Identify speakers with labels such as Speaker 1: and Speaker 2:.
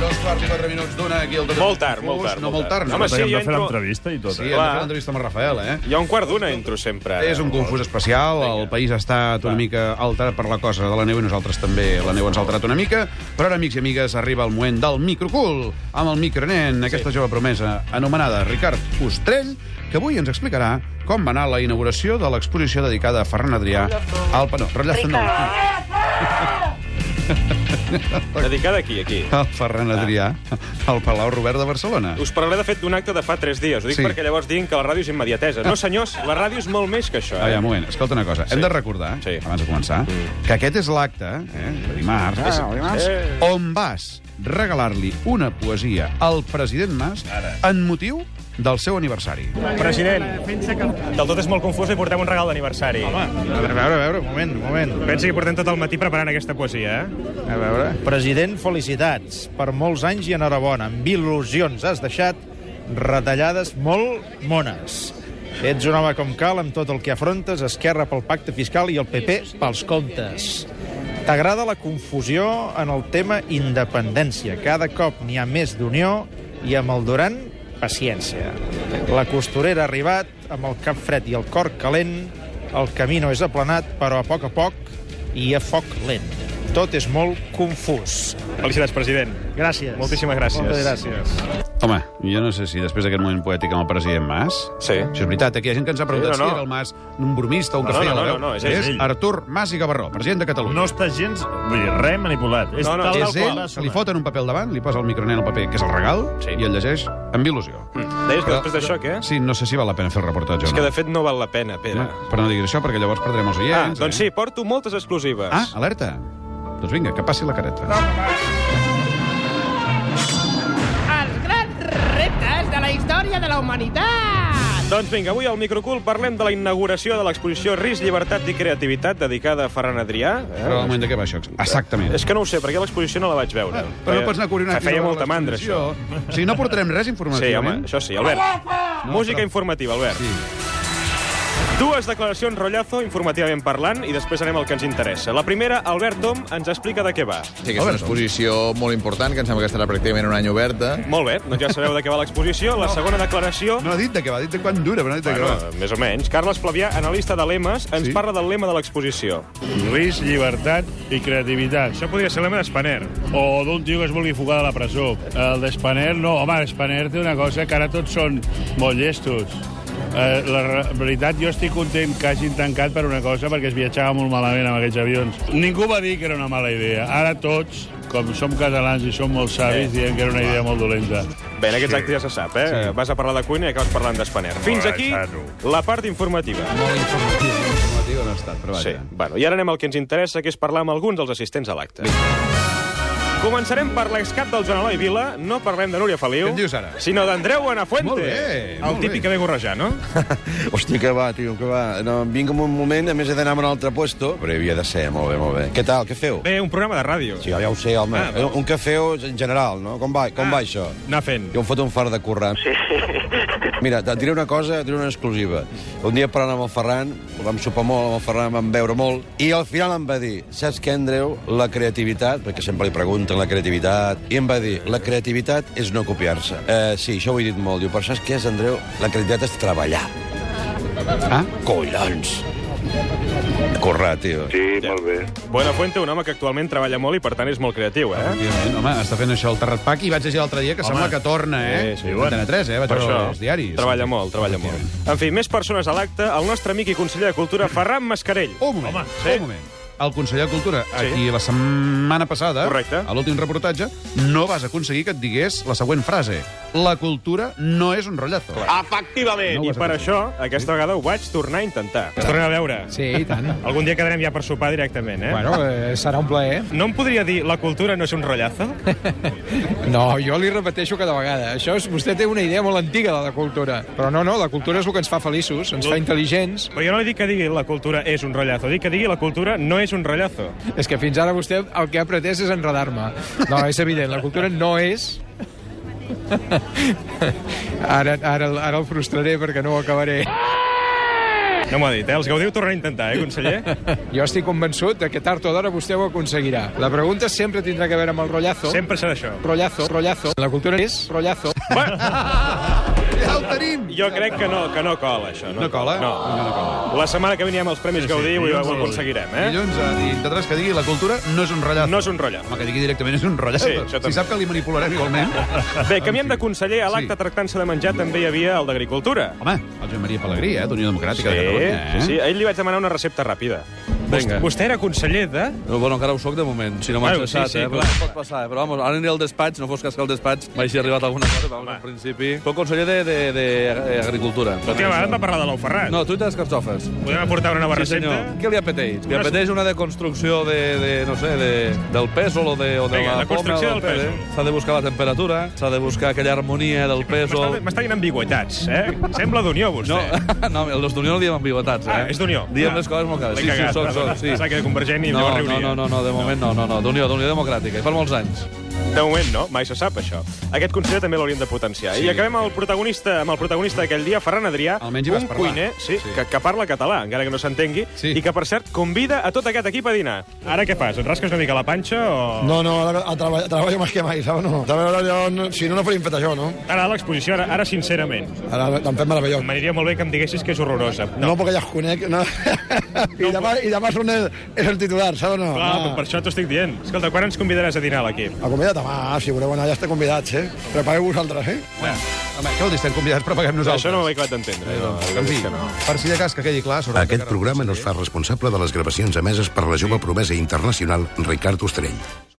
Speaker 1: 4 minuts d'una aquí al...
Speaker 2: Molt tard, molt tard,
Speaker 1: No,
Speaker 2: molt
Speaker 1: molt tard, no.
Speaker 2: Home,
Speaker 1: sí,
Speaker 2: sí,
Speaker 3: Hem
Speaker 2: jo
Speaker 3: de fer
Speaker 2: entro...
Speaker 3: l'entrevista i tot.
Speaker 1: hem
Speaker 3: Sí.
Speaker 1: de
Speaker 3: Eh?
Speaker 1: fer
Speaker 2: clar.
Speaker 1: l'entrevista amb el Rafael, eh?
Speaker 2: Jo a un quart d'una entro sempre.
Speaker 1: És un confús especial, el país ha estat una mica alterat per la cosa de la neu i nosaltres també la neu ens ha alterat una mica, però ara, amics i amigues, arriba el moment del microcul amb el micronen, aquesta jove promesa anomenada Ricard Ostrell, que avui ens explicarà com va anar la inauguració de l'exposició dedicada a Ferran Adrià al... pa- No, rotllazo no.
Speaker 2: Dedicada aquí, aquí.
Speaker 1: Al Ferran Adrià, al Palau Robert de Barcelona.
Speaker 2: Us parlaré, de fet, d'un acte de fa 3 dies. Ho dic
Speaker 1: Sí.
Speaker 2: perquè llavors diguin que la ràdio és immediatesa. No, senyors, la ràdio és molt més que això.
Speaker 1: Ah,
Speaker 2: Eh?
Speaker 1: ja, un moment, escolta una cosa. Hem de recordar,
Speaker 2: Sí. Mm.
Speaker 1: abans de començar, que aquest és l'acte, eh, de dimarts, eh, dimarts
Speaker 2: Eh.
Speaker 1: on vas regalar-li una poesia al president Mas en motiu del seu aniversari.
Speaker 4: President, del tot és molt confús i portem un regal d'aniversari.
Speaker 5: A veure, a veure, a veure, un moment, un moment.
Speaker 4: Pensa que portem tot el matí preparant aquesta poesia, eh?
Speaker 5: A veure. President, felicitats per molts anys i enhorabona. Amb il·lusions has deixat retallades molt mones. Ets un home com cal amb tot el que afrontes, Esquerra pel pacte fiscal i el PP pels comptes. T'agrada la confusió en el tema independència. Cada cop n'hi ha més d'unió i amb el Duran, paciència. La costurera ha arribat, amb el cap fred i el cor calent, el camí no és aplanat, però a poc a poc i a foc lent. Tot és molt confús.
Speaker 4: Felicitats, president.
Speaker 5: Gràcies.
Speaker 4: Moltíssimes gràcies.
Speaker 5: Moltes gràcies.
Speaker 1: Home, jo no sé si després d'aquest moment poètic amb el president Mas...
Speaker 2: Sí.
Speaker 1: Això és veritat, aquí hi ha gent que ens ha preguntat
Speaker 2: Sí, no, no.
Speaker 1: si era el Mas un bromista, un
Speaker 2: No,
Speaker 1: que feia
Speaker 2: no,
Speaker 1: la
Speaker 2: no,
Speaker 1: veu.
Speaker 2: no, no, és ell.
Speaker 1: és Artur Mas i Gavarró, president de Catalunya.
Speaker 3: No està gens... Vull dir, res manipulat. És
Speaker 2: No, no,
Speaker 3: tal
Speaker 1: és
Speaker 3: qual
Speaker 1: ell,
Speaker 3: va sonar.
Speaker 1: li foten un paper al davant, li posa el micronen al paper, que és el regal,
Speaker 2: Sí.
Speaker 1: i el llegeix amb il·lusió.
Speaker 2: Mm. Deies que
Speaker 1: Però-
Speaker 2: després d'això, què?
Speaker 1: Sí, no sé si val la pena fer el reportatge
Speaker 2: És
Speaker 1: o
Speaker 2: que,
Speaker 1: no.
Speaker 2: de fet, no val la pena, Pere.
Speaker 1: No, Però no diguis això, perquè llavors perdrem els
Speaker 2: Ah,
Speaker 1: oients.
Speaker 2: doncs
Speaker 1: eh?
Speaker 2: sí, porto moltes exclusives.
Speaker 1: Ah, alerta. Doncs vinga, que passi la careta.
Speaker 6: els grans reptes de la història de la humanitat.
Speaker 2: Doncs vinga, avui al Microcool parlem de la inauguració de l'exposició Risc, Llibertat i Creativitat dedicada a Ferran Adrià. Eh?
Speaker 1: Però al moment de què va això? Exactament.
Speaker 2: És que no ho sé, perquè l'exposició no la vaig veure.
Speaker 1: Però no pots anar a curinar...
Speaker 2: Feia molta mandra, això.
Speaker 1: O sigui, no portarem res informatiu. eh?
Speaker 2: Sí, home, això sí. Albert, música
Speaker 1: però-
Speaker 2: informativa, Albert.
Speaker 1: Sí.
Speaker 2: Dues declaracions, rotllazo, informativament parlant, i després anem al que ens interessa. La primera, Albert Tom ens explica de què va.
Speaker 7: Sí, que és una
Speaker 8: doncs.
Speaker 7: exposició molt important, que em sembla que estarà pràcticament un any oberta.
Speaker 2: Molt bé, doncs ja sabeu de què va l'exposició. La segona declaració...
Speaker 1: No ha dit de què va, ha dit de quan dura, però no ha dit de què va.
Speaker 2: Bueno, més o menys. Carles Flavià, analista de lemes, ens
Speaker 1: Sí.
Speaker 2: parla del lema de l'exposició.
Speaker 9: Risc, llibertat i creativitat.
Speaker 4: Això podria ser l'ema d'Espaner.
Speaker 9: O d'un tio que es vulgui fugar de la presó. El d'Espaner, no. Home, l'Espaner té una cosa que ara tots són molt llestos. Eh, la re- veritat, jo estic content que hagin tancat per una cosa, perquè es viatjava molt malament amb aquests avions. Ningú va dir que era una mala idea. Ara tots, com som catalans i som molt savis, diem que era una idea molt dolenta.
Speaker 2: Bé, en aquests actes ja se sap, eh? Sí. Vas a parlar de cuina i acabes parlant d'Espaner. Fins
Speaker 9: Hola,
Speaker 2: aquí
Speaker 9: xano.
Speaker 2: la part informativa.
Speaker 1: Molt informatiu, molt informatiu no ha estat, però
Speaker 2: Sí,
Speaker 1: vaja.
Speaker 2: bueno, i ara anem al que ens interessa, que és parlar amb alguns dels assistents a l'acte. Començarem per l'excap del Joan Eloi Vila, no parlem de Núria Feliu,
Speaker 1: Què en dius ara?
Speaker 2: sinó d'Andreu Buenafuente.
Speaker 1: Molt bé,
Speaker 4: El
Speaker 1: molt
Speaker 4: típic
Speaker 1: bé.
Speaker 4: de gorrejar, no?
Speaker 8: Hòstia, que va, tio, que va. No, vinc en un moment, a més he d'anar a un altre puesto. Però hi havia de ser, molt bé, molt bé. Què tal, què feu?
Speaker 4: Bé, un programa de ràdio.
Speaker 8: Sí, ja ho sé, home.
Speaker 4: Ah,
Speaker 8: Ah, un cafè o en general, no? Com va, com ah. va això?
Speaker 4: Anar fent.
Speaker 8: Jo em foto un far de currar. Sí. Mira, et diré una cosa, et diré una exclusiva. Un dia parlant amb el Ferran, vam sopar molt amb el Ferran, vam beure molt, i al final em va dir, saps què, Andreu? La creativitat, perquè sempre li pregunten la creativitat, i em va dir, la creativitat és no copiar-se. Eh, sí, això ho he dit molt. Diu, però saps què és, Andreu? La creativitat és treballar.
Speaker 1: Ah?
Speaker 8: Collons! Corrar, tio. Sí.
Speaker 2: Buenafuente, un home que actualment treballa molt i, per tant, és molt creatiu, eh?
Speaker 1: Efectivament, Home, està fent això el Terrat Pac i vaig llegir l'altre dia que sembla que torna, eh?
Speaker 2: Sí, sí,
Speaker 1: bueno. Antena 3, eh? Vaig veure els diaris.
Speaker 2: Treballa molt, treballa molt. En fi, més persones a l'acte, el nostre amic i conseller de Cultura, Ferran Mascarell.
Speaker 1: Un moment, Home, sí. un moment. El conseller de Cultura,
Speaker 2: Sí.
Speaker 1: aquí la setmana passada,
Speaker 2: Correcte.
Speaker 1: a l'últim reportatge, no vas aconseguir que et digués la següent frase. La cultura no és un rotllazo.
Speaker 2: Efectivament!
Speaker 1: No ho
Speaker 2: I
Speaker 1: has
Speaker 2: per
Speaker 1: aconseguit.
Speaker 2: això, aquesta vegada ho vaig tornar a intentar.
Speaker 4: Es tornem a veure.
Speaker 10: Sí, i tant.
Speaker 4: Algun dia quedarem ja per sopar directament, eh?
Speaker 10: Bueno, eh, serà un plaer.
Speaker 4: No em podria dir la cultura no és un rotllazo?
Speaker 10: No, jo li repeteixo cada vegada. Això és, vostè té una idea molt antiga de la cultura. Però no, no, la cultura és el que ens fa feliços, ens fa intel·ligents.
Speaker 4: Però jo no dic que digui la cultura és un rotllazo, dic que digui la cultura no és un rotllazo.
Speaker 10: És que fins ara vostè el que ha pretès és enredar-me. No, és evident, la cultura no és... Ara, ara, el- ara el frustraré perquè no ho acabaré.
Speaker 2: No m'ho ha dit, eh? Els Gaudiu tornen a intentar, eh, conseller?
Speaker 10: Jo estic convençut de que tard o d'hora vostè ho aconseguirà. La pregunta sempre tindrà que veure amb el rotllazo.
Speaker 2: Sempre serà això.
Speaker 10: Rotllazo, rotllazo. La cultura és rotllazo.
Speaker 11: Ja el tenim!
Speaker 2: Jo crec que no, que no cola, això. No,
Speaker 11: No cola?
Speaker 2: No.
Speaker 11: no, no cola.
Speaker 2: La setmana que venim amb els Premis Gaudí ho, ho aconseguirem, eh?
Speaker 11: Dilluns, eh, i t'atràs que digui la cultura no és un rotllazo.
Speaker 2: No és un rotllazo.
Speaker 11: Home, que digui directament és un rotllazo.
Speaker 2: Sí, això també.
Speaker 11: si sap que li manipularem igualment.
Speaker 2: Bé, canviem de conseller. A l'acte
Speaker 11: Sí.
Speaker 2: tractant-se de menjar també hi havia el d'Agricultura.
Speaker 11: Home, el Joan Maria Pellegrí, eh, d'Unió Democràtica de Catalunya. Eh?
Speaker 2: sí, sí. Ahir li vaig demanar una recepta ràpida.
Speaker 12: Vinga.
Speaker 2: Vostè era conseller de...
Speaker 12: No, bueno, encara ho sóc de moment, si no m'ha
Speaker 2: Bueno,
Speaker 12: bueno, cessat,
Speaker 2: sí, sí,
Speaker 12: eh? Però
Speaker 2: clar.
Speaker 12: pot passar, eh? Però vamos, ara aniré al despatx, no fos cas que al despatx m'hagi arribat alguna cosa, però al principi... Soc conseller de, de, de eh, Agricultura.
Speaker 2: L'última vegada va parlar de l'ou ferrat.
Speaker 12: No, tu i les carxofes.
Speaker 2: Podem aportar una nova
Speaker 12: sí, senyor.
Speaker 2: recepta?
Speaker 12: Què li apeteix? Li
Speaker 2: Una-
Speaker 12: apeteix una deconstrucció de, de no sé, de, del pèsol o de, o de
Speaker 2: Vinga,
Speaker 12: la poma
Speaker 2: deconstrucció
Speaker 12: o
Speaker 2: del
Speaker 12: pere.
Speaker 2: pèsol.
Speaker 12: S'ha de buscar la temperatura, s'ha de buscar aquella harmonia del pèsol...
Speaker 2: M'està- M'està dient ambigüetats, eh? Sembla d'Unió, vostè.
Speaker 12: No, no, els d'Unió no diem ambigüetats, eh?
Speaker 2: Ah, és d'Unió.
Speaker 12: Diem
Speaker 2: Ah.
Speaker 12: les coses molt clares.
Speaker 2: L'he cagat,
Speaker 12: Sí, sí, són, són,
Speaker 2: perdona.
Speaker 12: sí.
Speaker 2: Pensava que de Convergent i em
Speaker 12: no,
Speaker 2: riuria.
Speaker 12: no, no, no, no, de moment no, no, no, d'Unió, d'Unió Democràtica, i per molts anys.
Speaker 2: De moment no, mai se sap això. Aquest conseller també l'hauríem de potenciar.
Speaker 12: Sí.
Speaker 2: I acabem amb el protagonista amb el protagonista d'aquell dia, Ferran Adrià,
Speaker 11: Almenys hi vas
Speaker 2: un
Speaker 11: parlar.
Speaker 2: cuiner sí,
Speaker 11: Sí.
Speaker 2: Que, que parla català, encara que no s'entengui,
Speaker 11: Sí.
Speaker 2: i que, per cert, convida a tot aquest equip a dinar.
Speaker 13: Ara què fas? Et rasques una mica la panxa o...
Speaker 1: No, no, ara a treball, treballo més que mai, saps? No. També ara, jo, no, si no, no faríem fet això, no?
Speaker 13: Ara l'exposició, ara, ara sincerament.
Speaker 1: Ara l'han fet meravellós.
Speaker 13: M'aniria molt bé que em diguessis que és horrorosa.
Speaker 1: No, no perquè ja els conec, no. I, demà, I demà són el, és el titular, saps? No?
Speaker 11: Ah.
Speaker 13: Clar,
Speaker 1: no.
Speaker 13: per això t'ho estic dient. Escolta, quan ens convidaràs a dinar a l'equip?
Speaker 1: La comida demà, si voleu anar, ja esteu convidats, eh? Prepareu vosaltres, eh?
Speaker 11: Bueno, home, què vol dir? Estem convidats, però paguem nosaltres.
Speaker 2: Això no ho he acabat d'entendre. eh? No,
Speaker 11: En fi, per si de cas que quedi clar... surt que
Speaker 8: Aquest
Speaker 11: ara-
Speaker 8: programa no es fa responsable de les gravacions emeses per la jove promesa internacional Ricard Ostrell.